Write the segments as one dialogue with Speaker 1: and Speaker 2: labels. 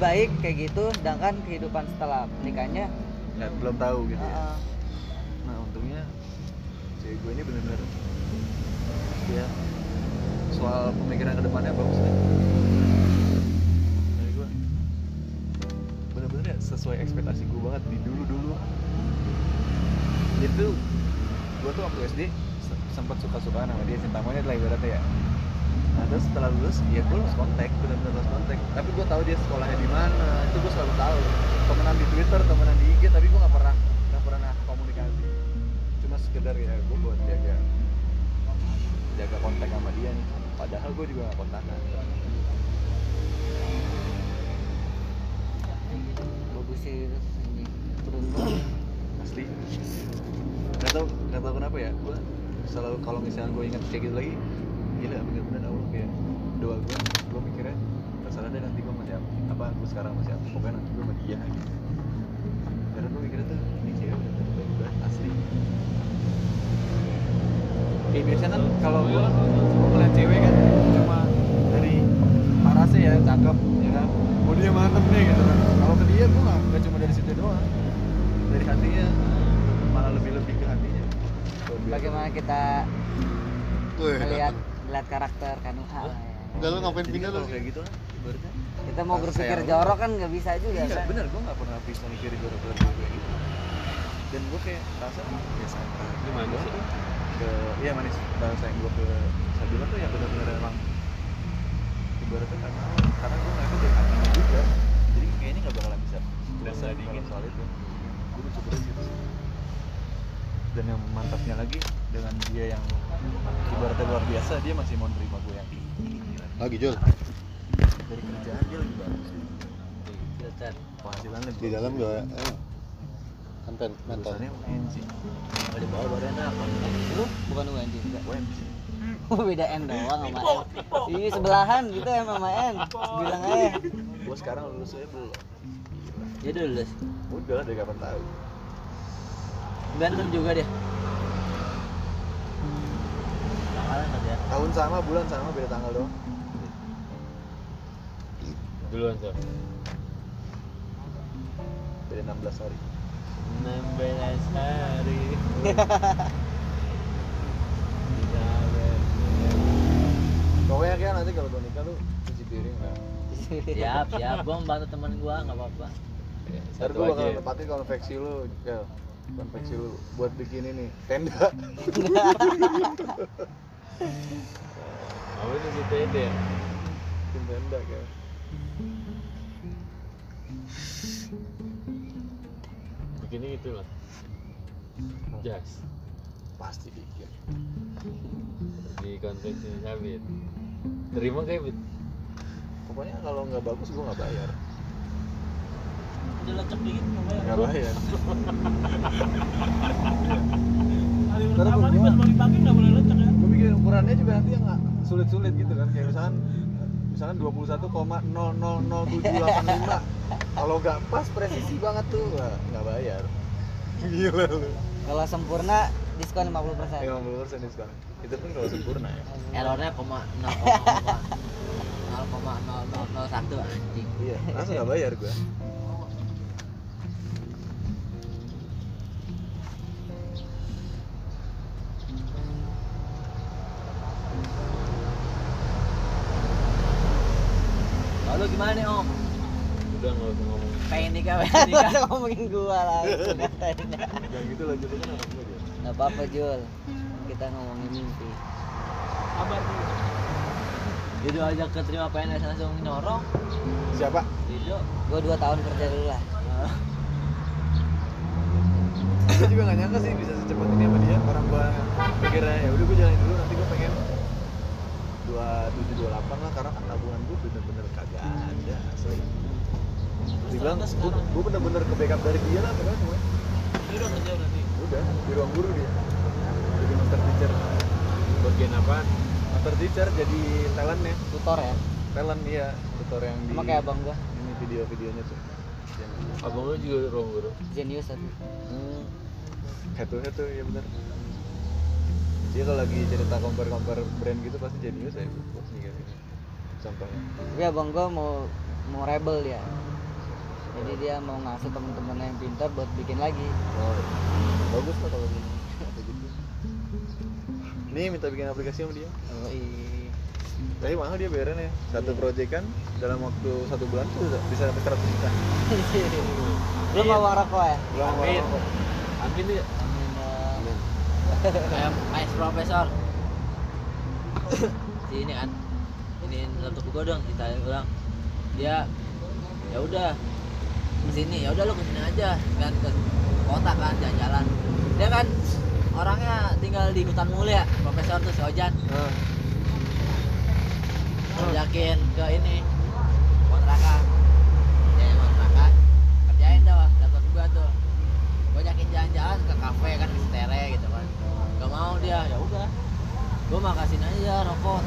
Speaker 1: baik kayak gitu sedangkan kehidupan setelah pernikahannya
Speaker 2: nggak belum tahu gitu ya
Speaker 1: uh,
Speaker 2: nah untungnya cewek gue ini bener-bener ya soal pemikiran kedepannya bagus deh dari gue bener-bener ya sesuai ekspektasi gue banget di dulu-dulu itu gue tuh waktu SD se- sempat suka-sukaan sama dia cinta monyet lah ibaratnya ya nah terus setelah lulus ya gue lost kontak bener-bener lost kontak tapi gue tahu dia sekolahnya di mana itu gue selalu tahu temenan di Twitter temenan di IG tapi gue nggak pernah nggak pernah komunikasi cuma sekedar ya gue buat jaga jaga kontak sama dia nih padahal gue juga kan. gak kontakan
Speaker 1: bagus sih ini beruntung
Speaker 2: asli nggak tau nggak tau kenapa ya gue selalu kalau misalnya gue ingat kayak gitu lagi gila bener-bener Allah kayak doa gue gue mikirnya terserah deh nanti gue masih apa gue sekarang masih apa pokoknya nanti gue sama dia gitu karena gue mikirnya tuh ini cewek bener-bener baik banget asli Eh biasanya kan kalau gue ngeliat cewek kan cuma dari parasnya ya cakep ya kan oh dia mantep nih gitu kan kalau ke dia gue nggak nggak cuma dari situ doang dari hatinya malah lebih lebih ke hatinya
Speaker 1: bagaimana kita
Speaker 3: Wih,
Speaker 4: ya.
Speaker 1: melihat melihat karakter kan wah,
Speaker 2: Hah?
Speaker 1: ya.
Speaker 3: Enggak lu ngapain
Speaker 2: Jadi
Speaker 3: pindah lu?
Speaker 2: kalau kayak gitu kan ibaratnya
Speaker 1: kita mau
Speaker 3: Sayang
Speaker 1: berpikir
Speaker 3: lu.
Speaker 1: jorok kan nggak bisa juga
Speaker 2: iya
Speaker 1: kan
Speaker 2: bener gue nggak pernah habis mikir gue udah gue gitu dan gue kayak rasa ya santai
Speaker 4: Ini manis
Speaker 2: Gua tuh
Speaker 4: ya?
Speaker 2: ke iya manis bahasa yang gue ke Sabila tuh ya benar-benar emang ibaratnya karena karena gue nggak dari hatinya juga jadi kayaknya nggak bakalan bisa
Speaker 4: Berasa
Speaker 2: Kalau
Speaker 4: dingin.
Speaker 2: soal itu gue lucu banget gitu sih dan yang mantapnya lagi dengan dia yang ibaratnya luar biasa dia masih mau nerima gue yang ini gila.
Speaker 3: Lagi Ah, gitu, Jul,
Speaker 2: dari kerjaan dia lebih bagus
Speaker 1: Filter.
Speaker 2: penghasilan lebih
Speaker 3: di dalam juga
Speaker 2: bagus.
Speaker 3: eh, konten mental.
Speaker 2: Tulisannya UN sih
Speaker 1: Kalau di bawah baru enak. Lu bukan UNJ juga.
Speaker 2: UN sih
Speaker 1: Oh, beda N doang sama N. Ini sebelahan gitu M sama N. Bilang aja.
Speaker 2: gue sekarang lulus aja belum
Speaker 1: Dia udah lulus.
Speaker 2: udah lah dari kapan tahu
Speaker 1: Ganteng juga dia. Kalian aja.
Speaker 2: tahun sama bulan sama beda tanggal doang
Speaker 4: Duluan tuh.
Speaker 2: beda 16 hari
Speaker 4: 16 hari.
Speaker 2: pokoknya kayak nanti kalau gue nikah lu cuci piring kan
Speaker 5: siap siap gue membantu temen gue nggak apa-apa
Speaker 4: Iya,
Speaker 2: ntar gue
Speaker 4: ya.
Speaker 2: bakal nempatin konveksi lu ya konveksi lu buat bikin ini tenda
Speaker 4: Apa itu si Tede?
Speaker 2: bikin tenda kayak
Speaker 4: Bikinnya gitu lah. Jas.
Speaker 2: pasti bikin
Speaker 4: Di konveksi Sabit. Terima kayak Bit.
Speaker 2: pokoknya kalau nggak bagus gue nggak bayar
Speaker 5: udah lecek dikit namanya
Speaker 2: nggak bayar
Speaker 5: hari
Speaker 2: Ntar
Speaker 5: pertama nih
Speaker 2: gua-
Speaker 5: pas pagi pagi nggak boleh lecek ya
Speaker 2: gue bikin ukurannya juga nanti yang nggak sulit-sulit gitu kan kayak misalkan misalkan 21,000785 kalau nggak pas presisi banget tuh nggak nggak bayar gila lu
Speaker 1: Kalau sempurna diskon 50%.
Speaker 2: 50 persen sekarang itu pun kalau sempurna ya
Speaker 5: errornya koma nol koma nol koma nol nol nol satu anjing
Speaker 2: iya langsung nggak bayar gue
Speaker 5: lalu gimana nih om
Speaker 4: Udah nggak usah ngomong.
Speaker 5: pengen nikah pengen nikah
Speaker 1: Kita ngomongin gua lah.
Speaker 2: yang gitu lanjut kan anak gue dia
Speaker 1: Enggak apa-apa, Jul. Kita ngomongin mimpi.
Speaker 5: Dido aja keterima PNS langsung nyorong
Speaker 2: siapa
Speaker 5: Dido
Speaker 1: Gua 2 tahun kerja dulu lah.
Speaker 5: Ah.
Speaker 2: gue juga nggak nyangka sih bisa secepat ini sama dia orang gue pikirnya ya udah gue jalanin dulu nanti gue pengen 2728 lah karena kan tabungan gue bener-bener kagak ada asli dibilang gue bener-bener ke backup dari dia lah pokoknya semuanya
Speaker 5: Dido udah kerja berarti
Speaker 2: udah di ruang guru dia jadi master teacher
Speaker 4: Bagian apaan?
Speaker 2: master teacher jadi talent ya
Speaker 1: Tutor ya.
Speaker 2: talent iya tutor yang di
Speaker 1: Sama kayak abang gua,
Speaker 2: ini video-videonya tuh yang
Speaker 4: Abang lu juga ruang guru.
Speaker 1: jenius tapi.
Speaker 2: hmm, head to head tuh ya benar dia kalau lagi cerita compare compare brand gitu pasti jenius ya bos nih kayak gini gitu. contohnya
Speaker 1: Tapi abang gua mau mau rebel dia jadi dia mau ngasih temen-temennya yang pintar buat bikin lagi
Speaker 2: Oh, bagus kok kalau gitu Kayak gitu. nih minta bikin aplikasi sama dia
Speaker 1: Oh, iya. Yoi.
Speaker 2: tapi mahal dia bayarannya satu proyek kan dalam waktu satu bulan tuh udah bisa sampai 100 juta
Speaker 1: lu
Speaker 5: Iya.
Speaker 1: mau uang rokok ya
Speaker 2: belum
Speaker 4: Amin. Amin ya.
Speaker 1: Amin, Bang.
Speaker 5: kayak Ais Profesor si ini kan ini laptop gua dong ditanya orang dia ya udah kesini ya udah lu kesini aja kan ke kota kan jalan-jalan dia kan orangnya tinggal di hutan mulia Profesor tuh si Ojan
Speaker 2: Ah,
Speaker 5: ngajakin ke ini kontrakan kerjain kontrakan kerjain dah laptop gua tuh gua ajakin jalan-jalan ke kafe kan ke setere gitu kan gak mau dia ya udah gua makasin aja rokok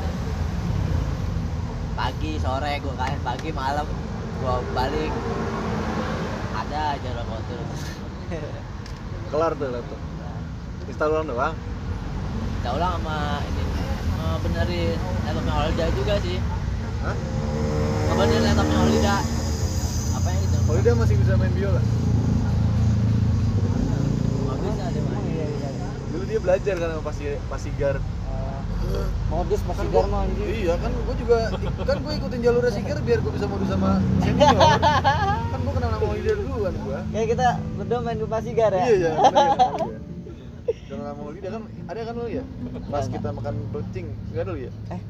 Speaker 5: pagi sore gua kain pagi malam gua balik ada aja rokok terus
Speaker 2: kelar tuh laptop install ulang doang
Speaker 5: kita ulang sama ini eh, benerin laptopnya Olda juga sih
Speaker 2: Hah?
Speaker 5: ngebenerin laptopnya Olda apa yang itu
Speaker 2: kalau dia masih bisa main biola
Speaker 5: Nggak bisa dia
Speaker 1: Oh,
Speaker 5: main
Speaker 1: iya, iya, iya.
Speaker 2: dulu dia belajar kan sama pasi pasigar
Speaker 1: Eh, modus masih garmo anjing
Speaker 2: iya kan gue juga kan gue ikutin jalurnya sigar biar gue bisa modus sama senior kan gue kenal sama leader duluan gue
Speaker 1: ya kita berdua main ke Pasigar ya
Speaker 2: iya iya bener ya, sama dia. Jangan lama Lidah kan ada kan lu ya? Pas kita makan bercing, enggak dulu ya?
Speaker 1: eh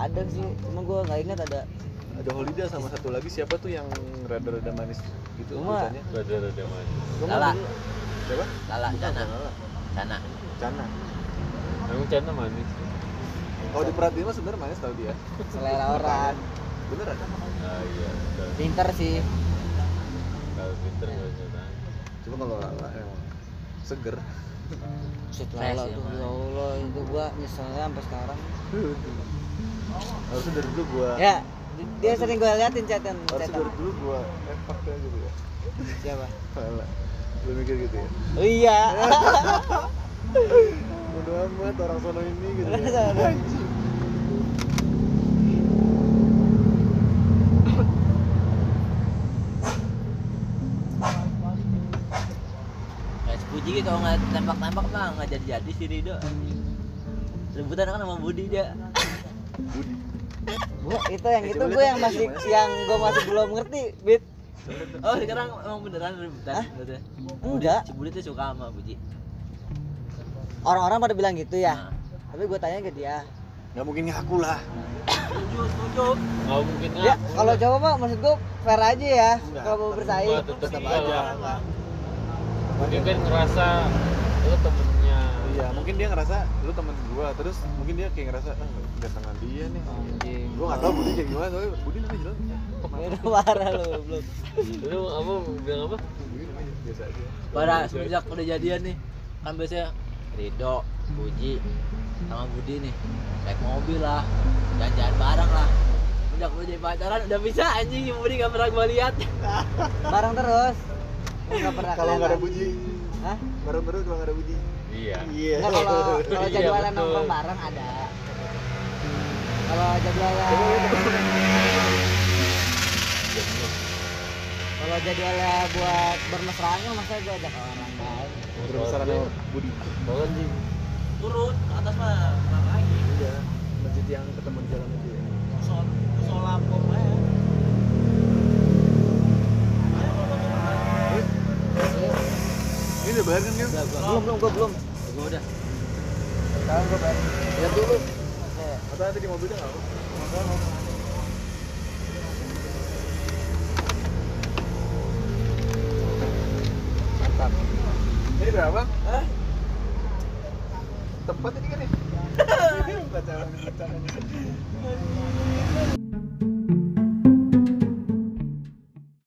Speaker 1: ada sih cuma gua nggak ingat ada
Speaker 2: Ada Holiday sama satu lagi siapa tuh yang rada-rada manis gitu
Speaker 1: Cuma-
Speaker 2: tulisannya?
Speaker 4: Rada-rada maju.
Speaker 2: Cuma
Speaker 5: Lala.
Speaker 2: dulu- Siapa?
Speaker 5: Lala,
Speaker 2: Bukan,
Speaker 5: Cana.
Speaker 2: Lala.
Speaker 5: sana
Speaker 2: Cana.
Speaker 4: Emang Cana manis.
Speaker 2: Kalau diperhatiin mah sebenarnya manis tau dia.
Speaker 1: selera orang
Speaker 2: Bener ada.
Speaker 4: Ah iya. Kalau-
Speaker 1: pinter sih
Speaker 4: Kalau pinter gak usah nanya.
Speaker 2: Cuma kalau Lala emang seger.
Speaker 1: Shit
Speaker 5: Fresh
Speaker 1: lala
Speaker 5: ya,
Speaker 1: tuh
Speaker 5: Bang.
Speaker 1: ya Allah itu gua nyeselnya sampai sekarang
Speaker 2: Harusnya dari dulu gua
Speaker 1: ya di- dia sering gua liatin chatan
Speaker 2: harusnya
Speaker 1: chatan
Speaker 2: dari dulu gua epak kayak gitu ya.
Speaker 1: siapa
Speaker 2: Lala. Lu mikir gitu ya.
Speaker 1: oh, iya
Speaker 2: Bodo amat orang sono ini gitu.
Speaker 1: Orang
Speaker 2: Ya.
Speaker 1: sono.
Speaker 2: Anjing.
Speaker 5: kayak sepuji gitu kalau nggak tembak-tembak mah nggak jadi-jadi si Rido rebutan kan sama Budi dia
Speaker 2: Budi.
Speaker 1: gua itu yang
Speaker 2: Eh,
Speaker 1: itu
Speaker 2: coba lihat
Speaker 1: gua yang
Speaker 2: dong,
Speaker 1: masih
Speaker 2: gimana?
Speaker 1: yang gua masih belum ngerti bit
Speaker 5: oh sekarang emang beneran rebutan
Speaker 1: Hah?
Speaker 5: gitu ya?
Speaker 1: enggak
Speaker 5: si Budi tuh suka sama Budi
Speaker 1: orang-orang pada bilang gitu ya
Speaker 5: Nah,
Speaker 1: tapi gua tanya ke dia
Speaker 2: Gak mungkin ngaku lah.
Speaker 5: setuju setuju
Speaker 4: Nggak mungkin
Speaker 1: ya
Speaker 4: ngaku.
Speaker 1: kalau cowok mah maksud gua fair aja ya
Speaker 2: Enggak,
Speaker 1: kalau mau bersaing
Speaker 4: tetep
Speaker 2: Tetap
Speaker 4: iya
Speaker 2: aja.
Speaker 4: lah. Dia kan ngerasa lo temennya.
Speaker 2: Iya, mungkin dia ngerasa lu temen gua, terus mungkin dia kayak ngerasa ah gantengan dia nih.
Speaker 4: Anjing.
Speaker 2: Gua nggak tahu Budi kayak gimana, tapi Budi namanya jelas.
Speaker 1: Udah marah lu belum
Speaker 4: Lu apa bilang apa?
Speaker 2: Budi namanya biasa aja.
Speaker 5: pada semenjak udah jadian nih kan biasanya Rido Puji sama Budi nih naik mobil lah jalan-jalan bareng lah udah udah jadi pacaran udah bisa anjing si Budi nggak pernah gua lihat
Speaker 1: bareng terus Gua nggak pernah
Speaker 2: Kalau nggak ada
Speaker 1: kelihatan.
Speaker 2: Budi,
Speaker 1: Hah?
Speaker 2: baru baru kalau nggak ada Budi.
Speaker 4: Iya.
Speaker 2: Iya.
Speaker 1: Nah, kalau kalau
Speaker 4: Iya,
Speaker 1: jadwalan
Speaker 4: betul.
Speaker 1: nongkrong bareng ada. Kalau jadwalan
Speaker 2: Iya,
Speaker 1: kalau jadwalan buat bermesraan mah masa gue ajak orang lain.
Speaker 2: Berbicara sama Budi.
Speaker 4: Kalau sih
Speaker 5: turun ke atas mah lagi
Speaker 2: Iya. Masjid yang ketemu di jalan itu. ya.
Speaker 5: musola pom aja
Speaker 2: Ini udah bayar kan Gem?
Speaker 5: udah gua
Speaker 1: Belum belum gue belum.
Speaker 5: gua udah
Speaker 1: Sekarang gue balik.
Speaker 2: Lihat dulu. Atau nanti di mobilnya nggak? Mantap. Ini berapa? Hah? Tempat ini kan ya? Pacaran, pacaran.